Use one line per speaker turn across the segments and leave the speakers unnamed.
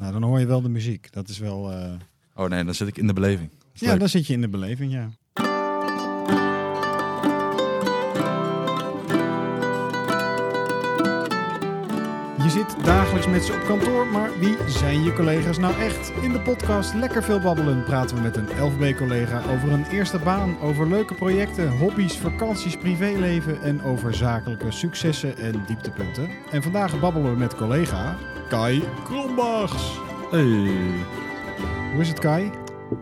Nou, dan hoor je wel de muziek. Dat is wel... eh,
Oh nee, dan zit ik in de beleving. Dat is
Ja,
leuk.
dan zit je in de beleving, ja. Je zit dagelijks met ze op kantoor, maar wie zijn je collega's nou echt? In de podcast Lekker Veel Babbelen praten we met een LFB-collega over een eerste baan, over leuke projecten, hobby's, vakanties, privéleven en over zakelijke successen en dieptepunten. En vandaag babbelen we met collega Kai Krombachs. Hoe is het, Kai?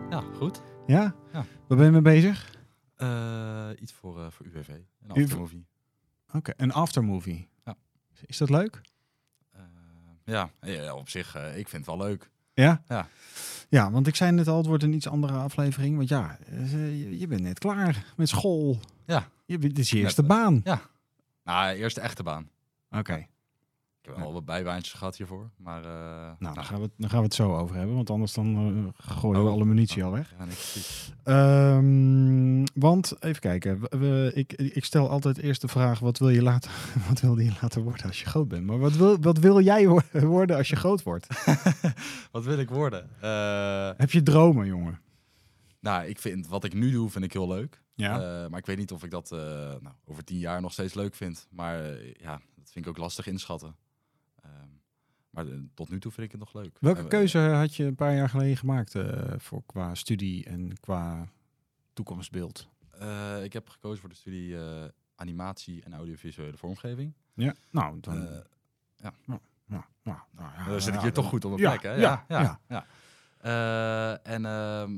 Ja, goed.
Ja?
Ja.
Waar ben je mee bezig?
Eh, iets voor, eh, voor UWV. Een
U-
aftermovie.
Oké, een aftermovie.
Ja.
Is dat leuk?
Eh, ja, ja, ja, op zich, eh, ik vind het wel leuk.
Ja?
Ja.
Ja, want ik zei net al, het wordt een iets andere aflevering. Want ja, eh, je, je bent net klaar met school.
Ja.
Je bent, dit is je
Net,
eerste
eh,
baan. Nou,
Nou, eerst de echte baan.
Oké.
Ik heb wel wat bijbaantjes gehad hiervoor, maar... eh,
Nou, dan gaan, we, het- dan gaan we het zo over hebben. Want anders dan eh, gooien we
Oh.
alle munitie al weg.
ja, nee, precies.
Ehm, want, even kijken. we- we- ik, ik stel altijd eerst de vraag, wat wil je later, wat wilde je later worden als je groot bent? Maar wat wil, wat wil jij wo- worden als je groot wordt?
Wat wil ik worden? Eh,
Heb je dromen, jongen?
nou, ik vind wat ik nu doe, vind ik heel leuk. Eh, maar ik weet niet of ik dat eh, nou, over tien jaar nog steeds leuk vind. Maar eh, ja, dat vind ik ook lastig inschatten. Ehm, maar eh, tot nu toe vind ik het nog leuk. Eh,
Welke
En,
keuze had je een paar jaar geleden gemaakt eh, voor qua studie en qua toekomstbeeld?
eh, eh, ik heb gekozen voor de studie eh, animatie en audiovisuele vormgeving.
Ja, nou, dan,
Eh,
nou, nou, nou, ja,
dan zit ik
ja,
hier
dan-
toch goed op mijn
ja,
plek, hè?
ja, ja.
Eh, en ehm,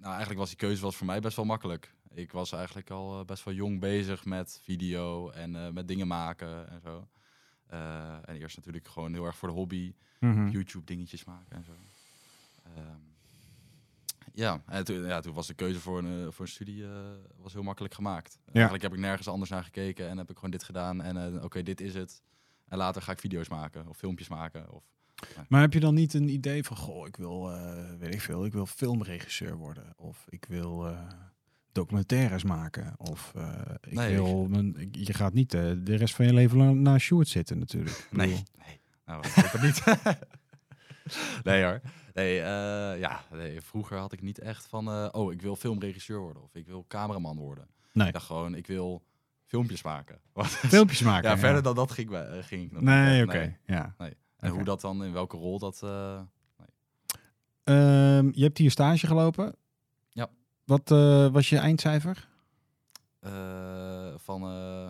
nou, eigenlijk was die keuze was voor mij best wel makkelijk. Ik was eigenlijk al eh, best wel jong bezig met video en eh, met dingen maken en zo. Eh, en eerst natuurlijk gewoon heel erg voor de hobby.
Mhm.
YouTube dingetjes maken en zo. Ehm, ja, en toen, ja, toen was de keuze voor een, eh, voor een studie eh, was heel makkelijk gemaakt. Eigenlijk heb ik nergens anders naar gekeken en heb ik gewoon dit gedaan. En eh, oké, dit is het. En later ga ik video's maken of filmpjes maken. Of,
Maar heb je dan niet een idee van, goh, ik wil, eh, weet ik veel, ik wil filmregisseur worden of ik wil eh, documentaires maken of eh, ik
Nee,
wil, mijn, ik- je gaat niet eh, de rest van je leven lang naast Sjoerd zitten natuurlijk. Ik bedoel,
nee. Nou, ik hoop het niet. nee hoor. Nee, eh, ja, nee, vroeger had ik niet echt van, eh, oh, ik wil filmregisseur worden of ik wil cameraman worden.
Nee.
Ik dacht gewoon, ik wil filmpjes maken.
Filmpjes maken.
ja, verder dan dat ging, ik bij- ging ik nog niet
Nee,
echt,
oké, ja.
En
Oké.
hoe dat dan, in welke rol dat... eh,
Ehm, je hebt hier stage gelopen.
Ja.
Wat eh, was je eindcijfer?
eh, van, eh,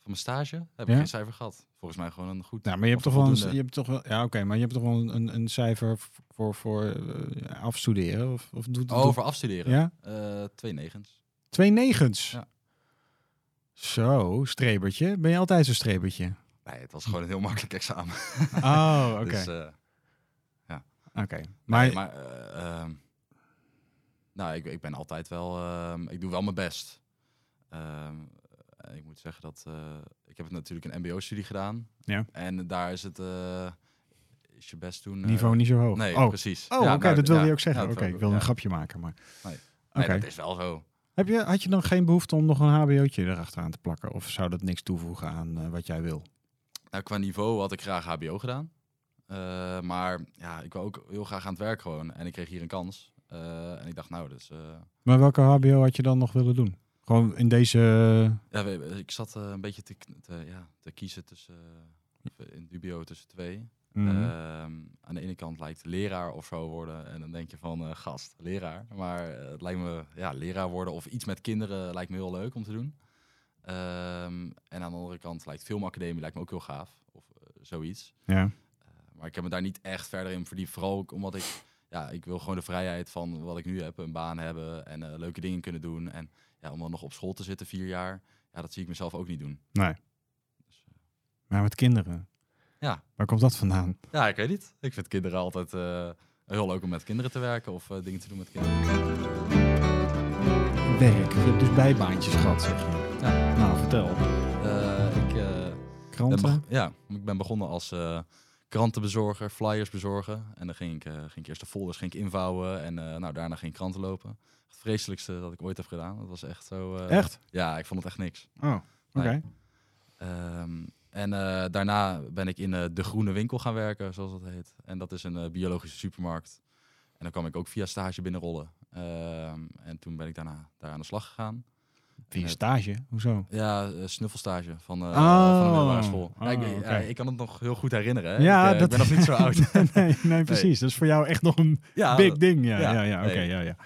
van mijn stage heb
Ja?
ik geen cijfer gehad. Volgens mij gewoon een goed...
Nou, maar je hebt
of
toch wel, een, je
voldoende.
hebt toch wel, ja, oké, maar je hebt toch wel een, een, een cijfer v- voor, voor eh, afstuderen of, of doet doet-
Oh, voor afstuderen.
ja,
Eh, twee negens.
twee negens.
Ja.
Zo, strebertje. Ben je altijd zo'n strebertje?
Nee, het was gewoon een heel makkelijk examen.
Oh, oké.
Dus, eh,
oké.
maar
Maar,
eh, ehm, nou, ik, ik ben altijd wel... ehm, ik doe wel mijn best. Ehm, eh, ik moet zeggen dat... eh, ik heb natuurlijk een mbo-studie gedaan.
Ja.
En daar is het... eh, is je best doen... eh,
niveau niet zo hoog.
Nee,
oh,
precies.
oh
Ja,
oké,
nou,
dat wilde
ja,
je ook zeggen.
ja, dat
oké,
wou
ik wilde
ja.
een grapje maken, maar...
Nee.
Oké.
Nee, dat is wel zo.
Heb je, had je dan geen behoefte om nog een hbo'tje erachteraan te plakken? Of zou dat niks toevoegen aan eh, wat jij wil?
Nou, qua niveau had ik graag HBO gedaan. Eh, maar ja, ik wou ook heel graag aan het werk gewoon. En ik kreeg hier een kans. Eh, en ik dacht, nou, dus. eh,
Maar welke HBO had je dan nog willen doen? Gewoon in deze.
ja, we- we- ik zat eh, een beetje te, k- te, ja, te kiezen tussen. eh, in dubio tussen twee.
mm, Mhm.
Ehm, aan de ene kant lijkt leraar of zo worden. En dan denk je van eh, gast, leraar. Maar eh, het lijkt me, ja, leraar worden of iets met kinderen lijkt me heel leuk om te doen. Ehm, en aan de andere kant lijkt filmacademie lijkt me ook heel gaaf. Of eh, zoiets.
Ja.
Uh, maar ik heb me daar niet echt verder in verdiept. Vooral ook omdat ik, ja, ik wil gewoon de vrijheid van wat ik nu heb. Een baan hebben en eh, leuke dingen kunnen doen. En ja, om dan nog op school te zitten vier jaar, ja, dat zie ik mezelf ook niet doen.
Nee. Maar met kinderen.
Ja.
Waar komt dat vandaan?
Ja, ik weet niet. Ik vind kinderen altijd eh, heel leuk om met kinderen te werken of eh, dingen te doen met kinderen.
Werk. Je hebt dus bijbaantjes gehad, zeg je.
Ja.
Nou, vertel.
Eh, ik, eh, ben
Kranten.
beg- ja, ik ben begonnen als eh, krantenbezorger, flyers bezorgen. En dan ging ik, eh, ging ik eerst de folders ging ik invouwen en eh, nou, daarna ging ik kranten lopen. Het vreselijkste dat ik ooit heb gedaan. Dat was echt zo... eh,
Echt?
Ja, ik vond het echt niks.
Oh, oké.
Ehm, En eh, daarna ben ik in eh, de groene winkel gaan werken, zoals dat heet. En dat is een eh, biologische supermarkt. En dan kwam ik ook via stage binnenrollen. Ehm, en toen ben ik daarna daar aan de slag gegaan.
Via
Eh,
stage? Hoezo?
Ja, eh, snuffelstage van, eh
Oh.
van de middelbare school. Ja, ik,
Oh,
ja,
oké.
ik kan het nog heel goed herinneren. Hè?
Ja,
ik, eh,
dat-
ik ben nog niet zo oud.
nee, nee, precies. Dat is voor jou echt nog een
ja,
big ding. Ja, ja,
ja,
ja. Oké,
nee.
ja, ja.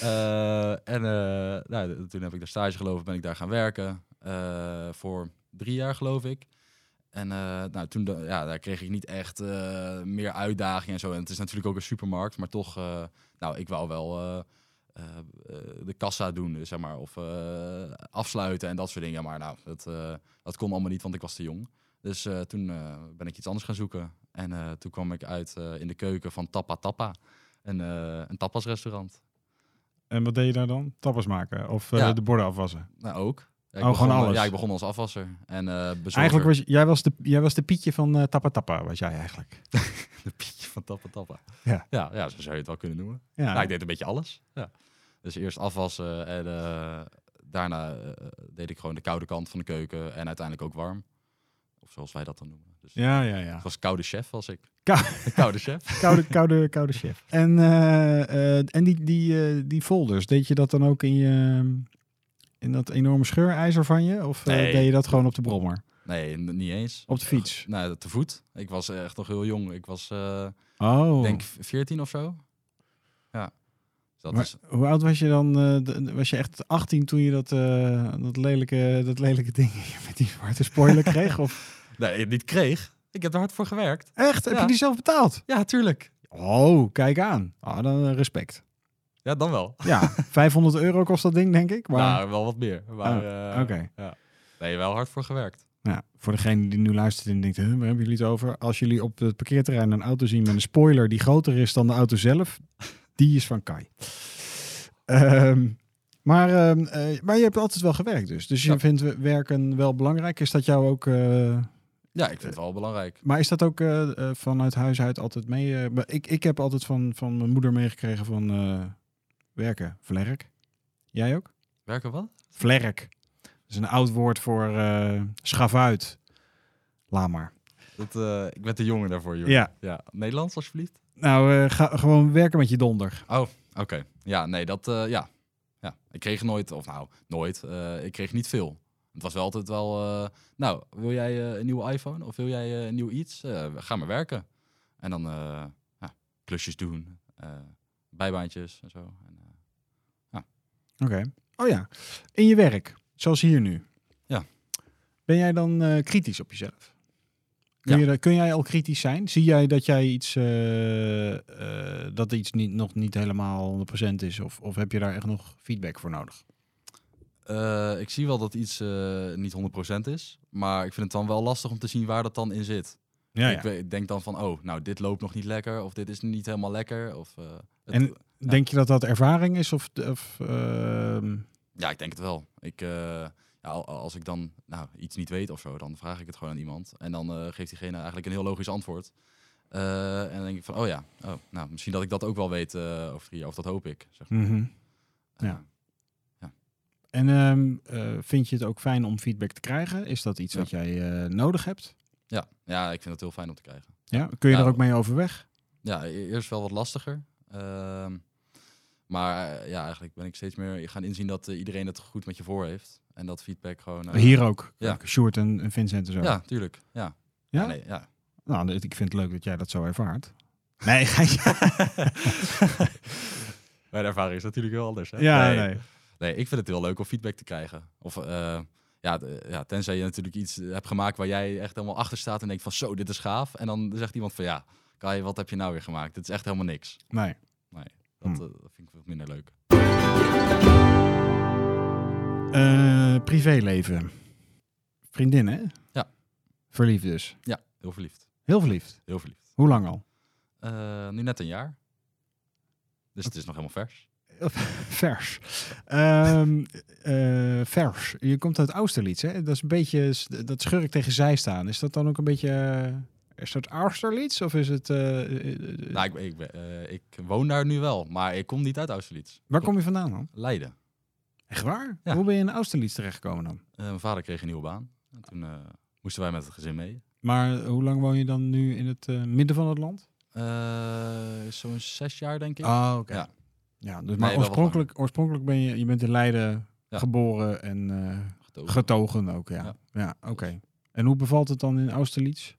Eh, en eh, nou, d- toen heb ik daar stage gelopen, ben ik daar gaan werken. eh, voor drie jaar, geloof ik. En eh, nou, toen da- ja, daar kreeg ik niet echt eh, meer uitdagingen en zo. En het is natuurlijk ook een supermarkt, maar toch, eh, nou, ik wou wel eh, eh, eh, de kassa doen, dus zeg maar, of eh, afsluiten en dat soort dingen. Maar nou, dat, eh, dat kon allemaal niet, want ik was te jong. Dus eh, toen eh, ben ik iets anders gaan zoeken. En eh, toen kwam ik uit eh, in de keuken van Tappa Tappa, een, eh een tapasrestaurant.
En wat deed je daar dan? Tappers maken of eh,
Ja.
de borden afwassen?
Nou, ook. Ja,
Oh,
begon,
gewoon alles?
Ja, ik begon als afwasser en eh bezorger.
Eigenlijk was je- jij was de, jij was de Pietje van eh Tappa Tappa, was jij eigenlijk.
de pietje van tappa tappa.
Ja.
Ja, ja, zo zou je het wel kunnen noemen.
Ja,
Nou, ik deed een beetje alles. Ja. Dus eerst afwassen en eh, daarna eh, deed ik gewoon de koude kant van de keuken en uiteindelijk ook warm. Of zoals wij dat dan noemen. Dus
ja, ja. ja.
ik was koude chef, was ik.
Kou-
Een koude chef.
Koude, koude, koude chef. En, eh, eh, en die, die, eh, die folders, deed je dat dan ook in je... In dat enorme scheurijzer van je? Of eh,
Nee.
deed je dat gewoon op de brommer?
Nee, n- niet eens.
Op de fiets?
Nou, te voet. Ik was echt nog heel jong. Ik was, eh,
Oh.
denk, 14 of zo. Ja. Dus dat
Maar
is
Hoe oud was je dan? eh, d- was je echt 18 toen je dat, eh, dat, lelijke, dat lelijke ding met die zwarte spoiler kreeg? Of...
Nee, niet kreeg. Ik heb er hard voor gewerkt.
Echt? Heb
Ja.
je die zelf betaald?
Ja, tuurlijk.
Oh, kijk aan. Ah, dan eh, respect.
Ja, dan wel.
Ja, 500 euro kost dat ding, denk ik. Maar Oh,
Nou, wel wat meer. Maar, eh,
oké.
Nee, wel hard voor gewerkt.
Nou, voor degene die nu luistert en denkt, huh, waar hebben jullie het over? Als jullie op het parkeerterrein een auto zien met een spoiler die groter is dan de auto zelf, die is van Kai. Ehm, maar, ehm, eh, maar je hebt altijd wel gewerkt dus. Dus je
Ja.
vindt we- werken wel belangrijk. Is dat jou ook... eh,
Ja, ik vind het wel belangrijk.
maar is dat ook eh, eh, vanuit huis uit altijd mee? eh, maar ik, ik heb altijd van, van mijn moeder meegekregen van eh, werken, vlerk. Jij ook?
Werken wat?
Vlerk. Dat is een oud woord voor eh schavuit. Laat maar.
Dat, eh, ik ben te jongen daarvoor, joh.
Ja,
Nederlands, alsjeblieft.
nou, eh, ga gewoon werken met je donder.
Oké. Ja, nee, dat... eh, ja. ja. Ik kreeg nooit, of nou, nooit. eh, ik kreeg niet veel. Het was wel altijd wel... eh, nou, wil jij eh, een nieuwe iPhone? Of wil jij eh, een nieuw iets? Eh, ga maar werken. En dan eh, ja, klusjes doen. eh, bijbaantjes en zo. En, eh,
Oké. Oh ja, in je werk, zoals hier nu.
Ja.
Ben jij dan eh, kritisch op jezelf? Kun,
Ja.
je, kun jij al kritisch zijn? Zie jij dat jij iets, eh, eh, dat iets niet, nog niet helemaal 100% is? Of, of heb je daar echt nog feedback voor nodig?
Eh, ik zie wel dat iets eh, niet 100% is. Maar ik vind het dan wel lastig om te zien waar dat dan in zit.
Ja,
Ik we- denk dan van, oh, nou, dit loopt nog niet lekker. Of dit is niet helemaal lekker. Of, eh, het-
En- Denk je dat dat ervaring is? Of, of, ehm,
Ja, ik denk het wel. Ik, eh, ja, al- als ik dan nou, iets niet weet of zo, dan vraag ik het gewoon aan iemand. En dan eh, geeft diegene eigenlijk een heel logisch antwoord. Eh, en dan denk ik van, oh ja, oh, nou, misschien dat ik dat ook wel weet eh over drie jaar. Of dat hoop ik. Zeg.
mhm.
maar.
Ja.
Eh,
En ehm, eh, vind je het ook fijn om feedback te krijgen? Is dat iets
Ja.
wat jij eh, nodig hebt?
ja. ja, ik vind het heel fijn om te krijgen.
Ja? Nou, Kun je
Ja.
er ook mee overweg?
Ja, e- eerst wel wat lastiger. Ehm, maar eh, ja, eigenlijk ben ik steeds meer gaan inzien dat eh, iedereen het goed met je voor heeft. En dat feedback gewoon... eh,
Hier ook.
ja.
Sjoerd en, en Vincent en zo.
Ja, tuurlijk. Ja.
Ja?
nee, ja.
Nou, ik vind het leuk dat jij dat zo ervaart. Nee, ja,
Mijn ervaring is natuurlijk heel anders. Hè?
ja, nee.
Nee, ik vind het heel leuk om feedback te krijgen. Of eh, ja, de- ja, tenzij je natuurlijk iets hebt gemaakt waar jij echt helemaal achter staat en denkt van zo, dit is gaaf. En dan zegt iemand van ja, Kai, wat heb je nou weer gemaakt? Dit is echt helemaal niks.
Nee.
Dat
Hm.
eh, vind ik wat minder leuk.
Eh, privéleven. Vriendin, hè?
Ja.
Verliefd dus.
Ja, heel verliefd.
Heel verliefd.
Heel verliefd.
Hoe lang al?
Eh, nu net een jaar. Dus het is nog helemaal vers.
Vers. Ehm, eh, vers. Je komt uit Austerlitz, hè? Dat is een beetje s- dat schurk tegen zij staan. Is dat dan ook een beetje... eh, Is dat Austerlitz of is het... eh, eh, eh,
Nou, ik, ben- ik, ben, eh, ik woon daar nu wel, maar ik kom niet uit Austerlitz.
waar kom je vandaan dan?
Leiden.
Echt waar?
Ja.
Hoe ben je in Austerlitz terechtgekomen dan?
Eh, mijn vader kreeg een nieuwe baan. En toen eh, moest moesten wij met het gezin mee.
Maar hoe lang woon je dan nu in het eh, midden van het land?
Eh, Zo'n zes jaar, denk ik.
Ah, oké.
Ja.
Ja, dus, maar
wel wat
oorspronkelijk, oorspronkelijk ben je, je bent in Leiden
Ja.
geboren en eh,
Getogen.
getogen ook, ja. Ja,
Ja.
oké. En hoe bevalt het dan in Austerlitz?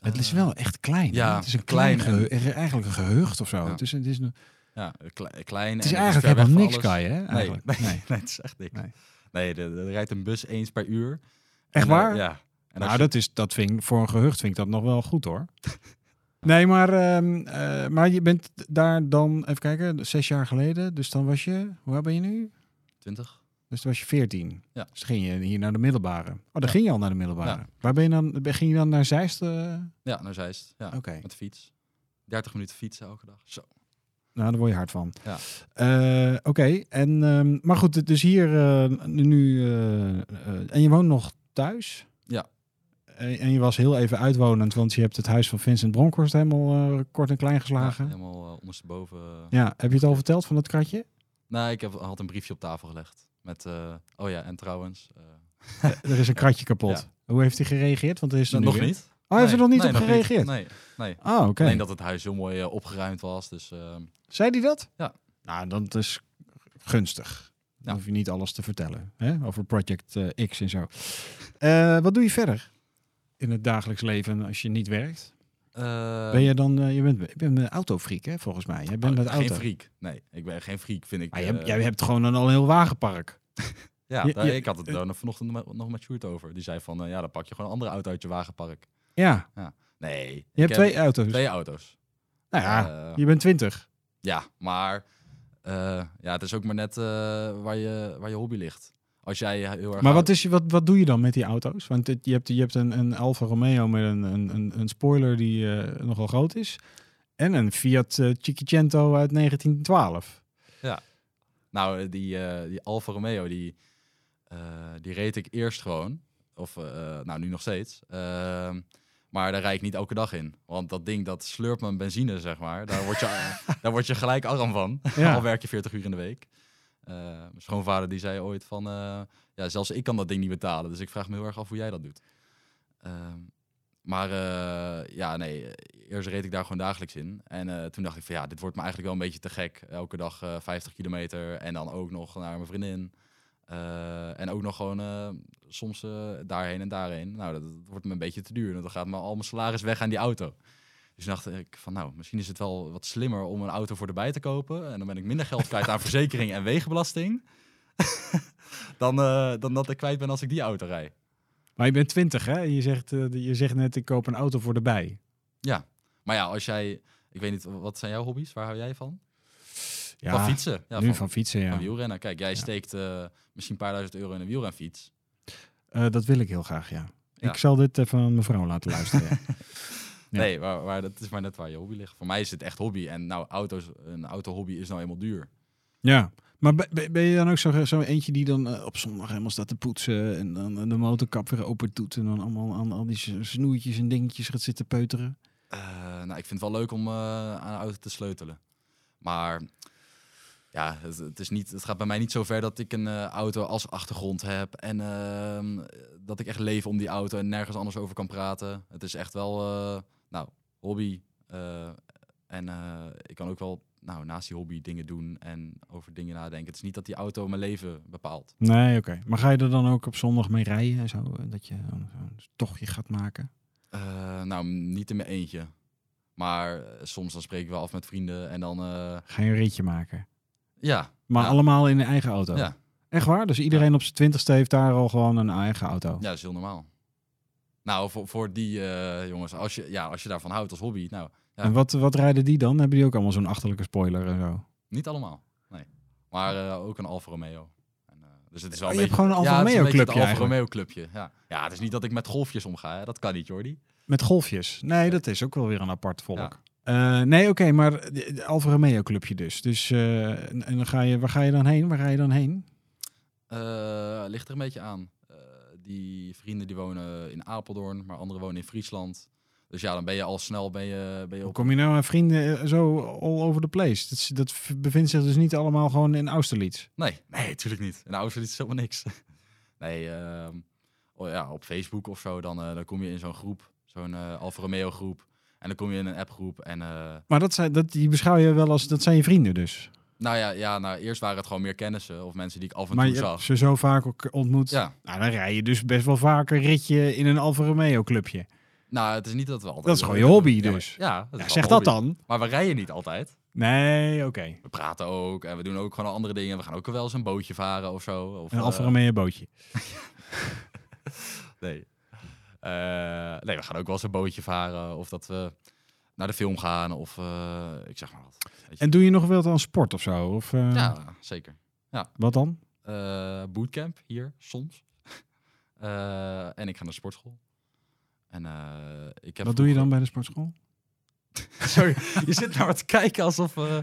het is wel echt klein. hè?
Eh, ja,
het is een klein,
klein en-
gehu- eigenlijk een gehucht of zo.
Ja.
Het is, het is, een-
Ja, kle- klein.
het is
en
eigenlijk
ver weg
helemaal
van
niks, Kai,
alles.
hè?
Nee,
Eigenlijk.
nee,
Nee.
nee. het is echt niks.
Nee.
Nee, er, er rijdt een bus eens per uur.
Echt
En, eh,
waar?
ja. En als
nou,
je-
dat is, dat vind, ik- voor een gehucht vind ik dat nog wel goed, hoor. Nee, maar, ehm, eh, maar je bent daar dan, even kijken, zes jaar geleden. Dus dan was je, hoe oud ben je nu?
20.
Dus toen was je 14.
Ja.
Dus toen ging je hier naar de middelbare. Oh, dan ging je al naar de middelbare.
Ja.
Waar ben je dan? Ging je dan naar Zeist? eh? Oké.
Ja, naar Zeist. Ja, met de fiets. 30 minuten fietsen elke dag. Zo.
Nou, daar word je hard van.
Ja.
Eh, Oké. En ehm, maar goed, dus hier eh, nu. eh, eh, en je woont nog thuis.
Ja.
En, en je was heel even uitwonend, want je hebt het huis van Vincent Bronkhorst helemaal eh, kort en klein geslagen.
Ja,
Ja,
helemaal eh, ondersteboven.
heb je het al verteld van dat kratje?
Nou, ik heb, had een briefje op tafel gelegd. Met, eh, oh ja, en trouwens. eh,
er is een kratje kapot. Hoe heeft hij gereageerd? Want er is er nu
Nou, nog
weer.
niet.
Oh, hij heeft er nog niet
nee,
op gereageerd.
Nee, nee.
Oh, oké.
Alleen dat het huis heel mooi eh, opgeruimd was. Dus ehm,
Zei die dat?
Ja.
Nou, dat is gunstig. Dan
Ja.
hoef je niet alles te vertellen hè? over Project eh, X en zo. Eh, wat doe je verder in het dagelijks leven als je niet werkt?
eh,
ben je dan, eh, je bent, je bent een autofreak hè, volgens mij. Jij bent
oh,
met
geen
auto.
freak. Nee, ik ben geen freak, vind ik.
Maar
eh,
jij, jij hebt gewoon een al heel wagenpark.
ja,
je-
daar-
je- eh,
ik had het daar vanochtend met- nog met Sjoerd over. Die zei van, eh, ja, dan pak je gewoon een andere auto uit je wagenpark.
Ja,
Nee. ik
je hebt
heb
twee auto's.
twee auto's.
nou ja,
Eh,
je bent twintig.
Ja, maar eh, ja, het is ook maar net eh, waar, je, waar je hobby ligt. Als jij heel erg.
Maar wat, is, je- wat, wat doe je dan met die auto's? Want het- je hebt, je hebt een, een Alfa Romeo met een, een, een, een spoiler die eh, nogal groot is. En een Fiat eh, Cinquecento uit 1912.
Nou, eh, die, eh, die Alfa Romeo, die, eh, die reed ik eerst gewoon. Of eh, eh, nou, nu nog steeds. Ehm, maar daar rijd ik niet elke dag in. Want dat ding, dat slurpt mijn benzine, zeg maar. Daar word je, daar word je gelijk arm van.
Ja.
Al werk je 40 uur in de week. Eh, mijn schoonvader die zei ooit van... eh, ja, zelfs ik kan dat ding niet betalen. Dus ik vraag me heel erg af hoe jij dat doet. Ehm, maar eh, ja, nee, eerst reed ik daar gewoon dagelijks in. En eh, toen dacht ik van ja, dit wordt me eigenlijk wel een beetje te gek. Elke dag eh, 50 kilometer en dan ook nog naar mijn vriendin. Eh, en ook nog gewoon eh, soms eh, daarheen en daarheen. Nou, dat, dat wordt me een beetje te duur. Want dan gaat me al mijn salaris weg aan die auto. Dus toen dacht ik van nou, misschien is het wel wat slimmer om een auto voor erbij te kopen. En dan ben ik minder geld kwijt aan verzekering en wegenbelasting. dan, eh, dan dat ik kwijt ben als ik die auto rijd.
Maar je bent 20, hè? Je zegt, eh, je zegt net, ik koop een auto voor de bij.
Maar ja, als jij, ik weet niet, wat zijn jouw hobby's? Waar hou jij van?
Ja,
van fietsen. Ja,
nu
van,
van, fietsen, ja.
van wielrennen. Kijk, jij
Ja.
steekt eh, misschien een paar duizend euro in een wielrenfiets.
Eh, dat wil ik heel graag, ja.
Ja.
Ik zal dit even aan mevrouw laten luisteren. ja. Ja.
Nee, waar, waar, dat is maar net waar je hobby ligt. Voor mij is het echt hobby. En nou, auto's, een autohobby is nou eenmaal duur.
ja. Maar ben- ben ben je dan ook zo, zo eentje die dan eh, op zondag helemaal staat te poetsen en dan eh, de motorkap weer open doet en dan allemaal aan al die s- snoertjes en dingetjes gaat zitten peuteren?
Eh, nou, ik vind het wel leuk om eh, aan een auto te sleutelen. Maar ja, het, het, is niet, het gaat bij mij niet zo ver dat ik een eh, auto als achtergrond heb. En ehm, dat ik echt leef om die auto en nergens anders over kan praten. Het is echt wel, eh, nou, hobby. eh, en eh, ik kan ook wel, nou, naast die hobby dingen doen en over dingen nadenken. Het is niet dat die auto mijn leven bepaalt.
Nee, oké. Maar ga je er dan ook op zondag mee rijden en zo? eh, Dat je dan zo'n tochtje gaat maken?
Eh, nou, niet in mijn eentje. Maar eh, soms dan spreken we af met vrienden en dan, eh,
Ga je een ritje maken?
ja.
Maar
Ja.
allemaal in een eigen auto?
Ja.
Echt waar? Dus iedereen op zijn twintigste heeft daar al gewoon een eigen auto?
Ja, dat is heel normaal. Nou, voor, voor die eh, jongens, als je, ja, als je daarvan houdt als hobby, nou, Ja.
En wat, wat rijden die dan? Hebben die ook allemaal zo'n achterlijke spoiler en zo?
niet allemaal. Nee. Maar eh, ook een Alfa Romeo. En, eh, dus het is wel
Oh,
een
je hebt
beetje,
gewoon een Alfa
ja, het is
Romeo
een beetje
clubje
het Alfa
eigenlijk.
Romeo clubje. Ja. ja, het is niet dat ik met golfjes omga. Hè. Dat kan niet, Jordi.
Met golfjes? Nee, dat is ook wel weer een apart volk.
Ja.
Eh, nee, oké, maar de- de Alfa Romeo clubje dus. Dus eh, en en dan ga je, waar ga je dan heen? Waar ga je dan heen?
Eh, ligt er een beetje aan. Eh, die vrienden die wonen in Apeldoorn, maar anderen wonen in Friesland. Dus ja, dan ben je al snel ben je, ben je
Hoe
op.
kom je nou aan vrienden eh, zo all over the place? Dat, is- dat v- bevindt zich dus niet allemaal gewoon in Austerlitz.
Nee, nee, natuurlijk niet. In Auschwitz is helemaal niks. nee, ehm, oh ja, op Facebook of zo, dan, eh, dan kom je in zo'n groep, zo'n eh Alfa Romeo groep. En dan kom je in een appgroep. En eh,
Maar dat zijn, dat, die beschouw je wel als, dat zijn je vrienden dus.
nou ja, ja nou, eerst waren het gewoon meer kennissen of mensen die ik af en
maar
toe
je hebt
zag.
ze zo vaak ook ontmoet.
Ja,
Nou, dan rij je dus best wel vaak een ritje in een Alfa Romeo clubje.
nou, het is niet dat we altijd.
Dat is gewoon je hobby dus.
Ja, ja, dat
Ja,
is
zeg
wel
dat
hobby.
dan.
Maar we rijden niet altijd.
Nee, oké.
We praten ook en we doen ook gewoon andere dingen. We gaan ook wel eens een bootje varen of zo. Of,
Een
eh,
Alfa Romeo bootje.
Nee. Eh, nee, we gaan ook wel eens een bootje varen. Of dat we naar de film gaan. Of eh, ik zeg maar wat. weet je.
En doe je nog wel aan sport of zo? Of, eh,
Ja, zeker.
Wat dan?
Eh, bootcamp hier, soms. Eh, en ik ga naar de sportschool. En eh, ik heb
Wat doe je dan
vroeger-
bij de sportschool?
Sorry, je zit naar wat te kijken alsof, eh,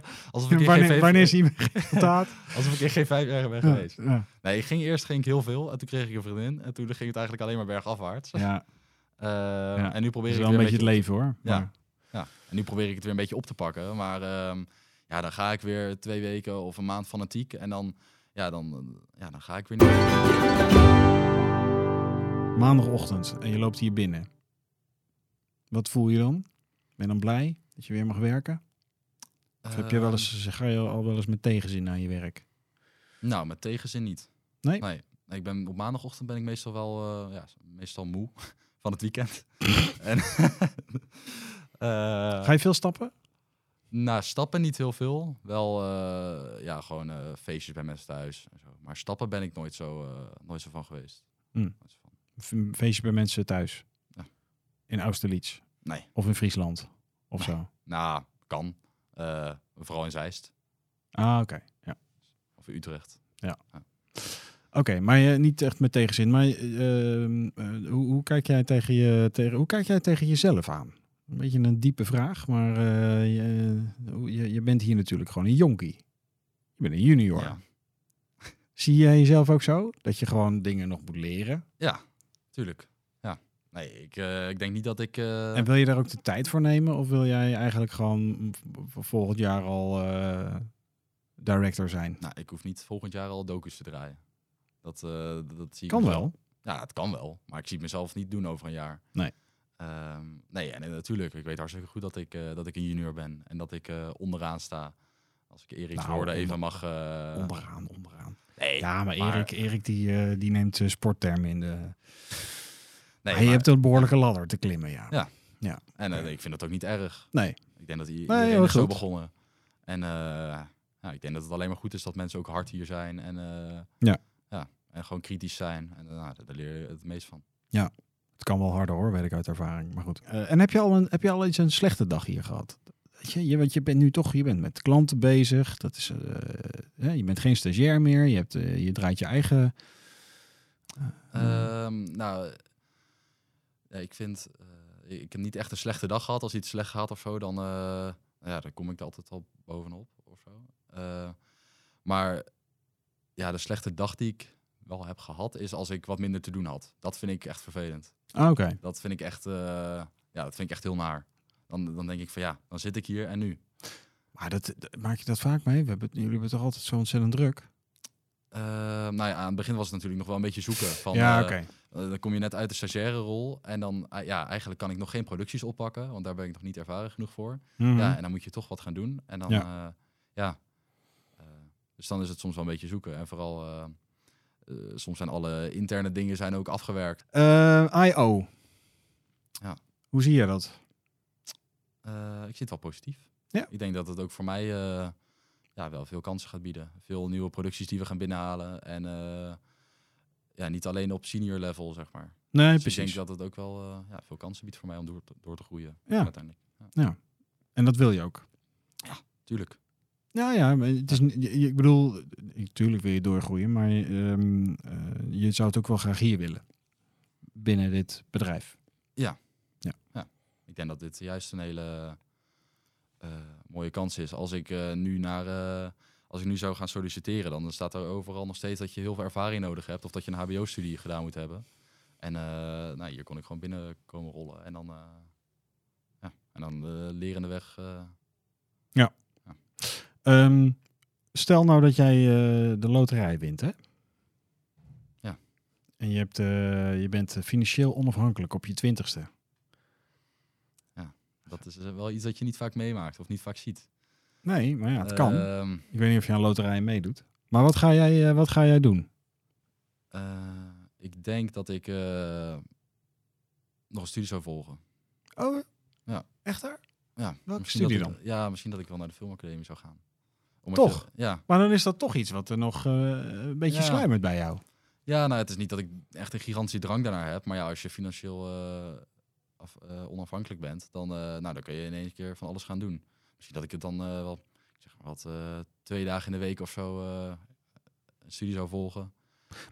alsof ik in
Wanneer,
G5
wanneer is iemand resultaat?
alsof ik in geen vijf jaar ben
Ja,
geweest.
ja.
Nee, ik ging, eerst ging ik heel veel en toen kreeg ik een vriendin. En toen ging het eigenlijk alleen maar bergafwaarts.
ja,
Eh,
Ja,
En nu probeer
dat is
ik
wel
weer
een beetje het leven hoor.
Ja.
Maar-
Ja, en nu probeer ik het weer een beetje op te pakken. Maar ehm, ja, dan ga ik weer twee weken of een maand fanatiek. En dan, ja, dan, ja, dan ga ik weer niet.
Maandagochtend en je loopt hier binnen. Wat voel je dan? Ben je dan blij dat je weer mag werken? Of heb je wel eens, ga je al wel eens met tegenzin naar je werk?
Ehm, nou, met tegenzin niet.
Nee?
nee. Ik ben, op maandagochtend ben ik meestal wel eh, ja, meestal moe van het weekend. en, eh,
Ga je veel stappen?
nou, stappen niet heel veel. Wel eh, ja, gewoon eh, feestjes bij mensen thuis. En zo. Maar stappen ben ik nooit zo, eh, nooit zo van geweest.
Hm.
Nooit zo van.
Of een feestje bij mensen thuis?
Ja.
In Austerlitz?
Nee.
Of in Friesland? Of zo?
Nou, kan. Eh, vooral in Zeist
Ah, oké. Ja.
of in Utrecht.
Oké, maar je, niet echt met tegenzin. Maar ehm, eh, hoe, hoe, kijk jij tegen je, tegen, hoe kijk jij tegen jezelf aan? Een beetje een diepe vraag, maar eh, je, hoe- je, je bent hier natuurlijk gewoon een jonkie. Je bent een junior.
Ja.
Zie jij jezelf ook zo? Dat je gewoon dingen nog moet leren?
Ja, tuurlijk. Ja. Nee, ik, eh, ik denk niet dat ik. eh,
En wil je daar ook de tijd voor nemen? Of wil jij eigenlijk gewoon v- volgend jaar al eh, director zijn?
nou, ik hoef niet volgend jaar al docu's te draaien. Dat, eh, dat, dat zie ik
Kan
mezelf-
wel.
Ja, het kan wel. Maar ik zie het mezelf niet doen over een jaar.
Nee.
Ehm, nee, en eh, natuurlijk. Ik weet hartstikke goed dat ik, eh, dat ik een junior ben. En dat ik eh, onderaan sta. Als ik Erik's
Nou,
woorden even
onder-
mag. eh,
Onderaan, onderaan.
Nee,
Ja, maar
maar-
Erik, Erik die, eh, die neemt eh, sporttermen in de...
nee
Maar je
maar-
hebt een behoorlijke ladder te klimmen, ja.
Ja. En eh, ik vind dat ook niet erg.
Nee.
Ik denk dat i-
Nee,
iedereen
heel
is zo
goed.
begonnen. En eh, ja, ik denk dat het alleen maar goed is dat mensen ook hard hier zijn. En, eh,
Ja.
ja, en gewoon kritisch zijn. En eh, nou, daar daar leer je het meest van.
Het kan wel harder hoor, weet ik uit ervaring. Maar goed. Eh, en heb je, al een, heb je al eens een slechte dag hier gehad? Weet je, je, want je bent nu toch, je bent met klanten bezig. Dat is, eh, hè, je bent geen stagiair meer. Je, hebt, eh, je draait je eigen...
Ehm, nou, eh, ik vind... eh, ik heb niet echt een slechte dag gehad. Als iets slecht gaat of zo, dan, eh, nou ja, dan kom ik er altijd al bovenop. Of zo. Eh, maar ja, de slechte dag die ik wel heb gehad, is als ik wat minder te doen had. Dat vind ik echt vervelend.
Ah, oké.
Dat vind ik echt, eh, ja, dat vind ik echt heel naar. Dan, dan denk ik van ja, dan zit ik hier en nu.
Maar dat, dat- maak je dat vaak mee? We hebben, het- jullie hebben toch altijd zo ontzettend druk?
Eh, nou ja, aan het begin was het natuurlijk nog wel een beetje zoeken. Van,
ja,
eh,
oké.
eh, dan kom je net uit de stagiaire rol en dan, ah, ja, eigenlijk kan ik nog geen producties oppakken, want daar ben ik nog niet ervaren genoeg voor.
Mhm.
Ja, en dan moet je toch wat gaan doen. En dan, ja. ja. Eh, dus dan is het soms wel een beetje zoeken. En vooral, eh, eh, soms zijn alle interne dingen zijn ook afgewerkt.
Eh, I.O.
Ja.
Hoe zie je dat?
Eh, ik zit wel positief.
Ja.
Ik denk dat het ook voor mij eh, ja, wel veel kansen gaat bieden. Veel nieuwe producties die we gaan binnenhalen. En eh, ja, niet alleen op senior level, zeg maar.
Nee,
Dus ik
precies.
denk dat het ook wel eh, ja, veel kansen biedt voor mij om door te, door te groeien.
Ja.
Uiteindelijk. Ja,
En dat wil je ook?
tuurlijk.
Ja, ja, maar het is, ni- je- je- ik bedoel, natuurlijk wil je doorgroeien, maar ehm, eh, je zou het ook wel graag hier willen. Binnen dit bedrijf.
Ik denk dat dit juist een hele eh, mooie kans is. Als ik, eh, nu naar, eh, als ik nu zou gaan solliciteren, dan staat er overal nog steeds dat je heel veel ervaring nodig hebt. Of dat je een HBO-studie gedaan moet hebben. En eh, nou, hier kon ik gewoon binnen komen rollen. En dan, eh, ja, en dan de lerende weg. eh,
Ehm, stel nou dat jij eh, de loterij wint, hè?
Ja.
En je, hebt, eh, je bent eh, financieel onafhankelijk op je twintigste.
Dat is eh, wel iets dat je niet vaak meemaakt of niet vaak ziet.
Nee, maar ja, het kan.
Ehm,
Ik weet niet of je aan loterijen meedoet. Maar wat ga jij, eh, wat ga jij doen?
eh, ik denk dat ik eh, nog een studie zou volgen.
Oh,
Ja.
echt daar?
Ja,
Welke
misschien dat
studie
ik- ja, misschien dat ik wel naar de filmacademie zou gaan. Omdat
Toch?
je- ja.
Maar dan is dat toch iets wat er nog eh, een beetje
Ja.
sluimert bij jou.
Ja, nou, het is niet dat ik echt een gigantische drang daarnaar heb. Maar ja, als je financieel eh, af- eh, onafhankelijk bent, dan, eh, nou, dan kun je in één keer van alles gaan doen. Misschien dat ik het dan eh, wel, ik zeg maar wat, eh, twee dagen in de week of zo eh, een studie zou volgen.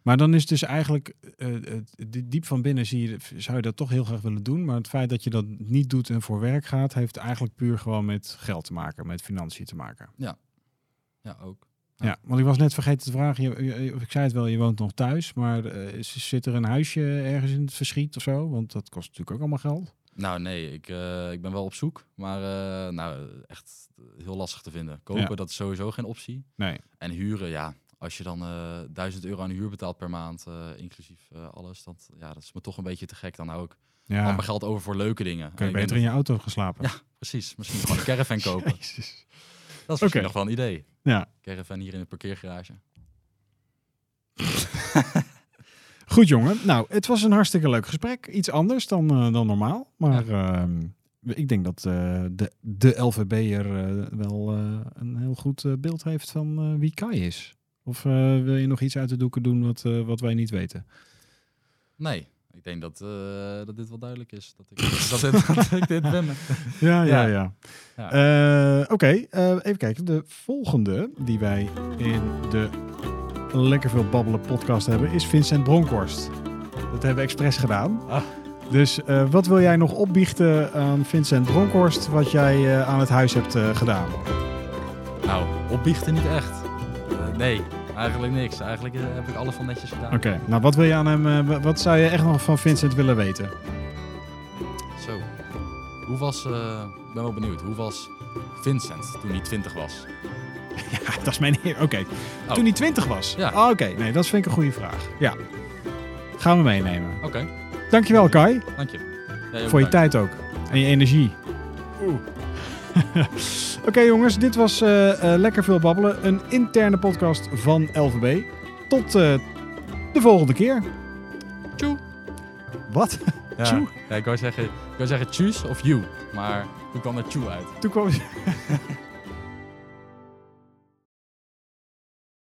Maar dan is dus eigenlijk, eh, het- die- diep van binnen zie je, zou je dat toch heel graag willen doen. Maar het feit dat je dat niet doet en voor werk gaat, heeft eigenlijk puur gewoon met geld te maken, met financiën te maken.
Ja, ook.
Ja, want ik was net vergeten te vragen, je, je- of ik zei het wel, je woont nog thuis. Maar eh, is- zit er een huisje ergens in het verschiet of zo? Want dat kost natuurlijk ook allemaal geld.
Nou, nee, ik, eh, ik ben wel op zoek. Maar eh, nou, echt heel lastig te vinden. Kopen,
Ja.
dat is sowieso geen optie.
Nee.
En huren, ja. Als je dan eh 1000 euro aan huur betaalt per maand, eh, inclusief eh, alles, dat, ja, dat is me toch een beetje te gek. Dan hou ik
Ja,
al mijn geld over voor leuke dingen.
kun
En
je
ik denk
beter in je auto gaan slapen.
Ja, Precies, misschien gewoon een caravan kopen. Dat
Jezus.
is misschien
Oké.
nog wel een idee.
Ja.
Caravan hier in de parkeergarage.
Goed jongen, nou het was een hartstikke leuk gesprek. Iets anders dan, eh, dan normaal. Maar ehm, ik denk dat eh, de, de LVB'er eh, wel eh, een heel goed eh, beeld heeft van eh, wie Kai is. Of eh, wil je nog iets uit de doeken doen wat, eh, wat wij niet weten?
Nee, ik denk dat, eh, dat dit wel duidelijk is. Dat ik, dat dit, dat ik dit ben.
Ja, ja,
Ja.
ja.
Ja.
Eh, Oké, eh, even kijken. De volgende die wij in de Lekker Veel Babbelen podcast hebben is Vincent Bronkhorst. Dat hebben we expres gedaan.
Ah.
Dus eh, wat wil jij nog opbiechten aan Vincent Bronkhorst wat jij eh, aan het huis hebt eh, gedaan?
Nou, opbiechten niet echt. Eh, nee, eigenlijk niks. Eigenlijk eh, heb ik alles wel netjes gedaan.
Oké, nou wat wil je aan hem, eh, wa- wat zou je echt nog van Vincent willen weten?
Zo. Hoe was, eh, ik ben wel benieuwd, hoe was Vincent toen hij 20 was?
Ja, dat is mijn heer. Oké,
Oh.
toen hij 20 was.
Ja.
Ah, Oké, nee, dat vind ik een goede vraag. Ja, gaan we meenemen.
Oké,
Dankjewel Kai.
dank je. Jij ook
Voor je
bedankt.
tijd ook. En je energie.
Oeh.
Oké jongens, dit was eh, eh, Lekker Veel Babbelen. Een interne podcast van LVB. Tot eh, de volgende keer.
Tjoe.
Wat? Tjoe.
Ja, ja, ik wou zeggen, ik wou zeggen tjus of you, maar toen kwam er tjoe uit.
Toen kwam